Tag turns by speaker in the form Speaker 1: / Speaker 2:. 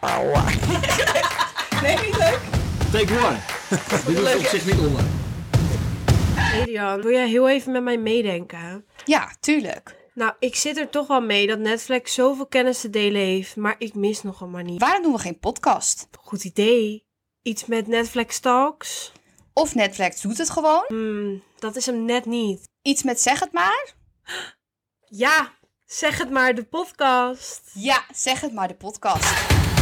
Speaker 1: Auwa.
Speaker 2: Nee, niet leuk.
Speaker 3: Take one. Dit is op zich niet online.
Speaker 4: Elian, wil jij heel even met mij meedenken?
Speaker 2: Ja, tuurlijk.
Speaker 4: Nou, ik zit er toch wel mee dat Netflix zoveel kennis te delen heeft, maar ik mis nog een manier.
Speaker 2: Waarom doen we geen podcast?
Speaker 4: Goed idee. Iets met Netflix Talks?
Speaker 2: Of Netflix doet het gewoon.
Speaker 4: Hmm, dat is hem net niet.
Speaker 2: Iets met zeg het maar.
Speaker 4: Ja, zeg het maar, de podcast.
Speaker 2: Ja, zeg het maar de podcast.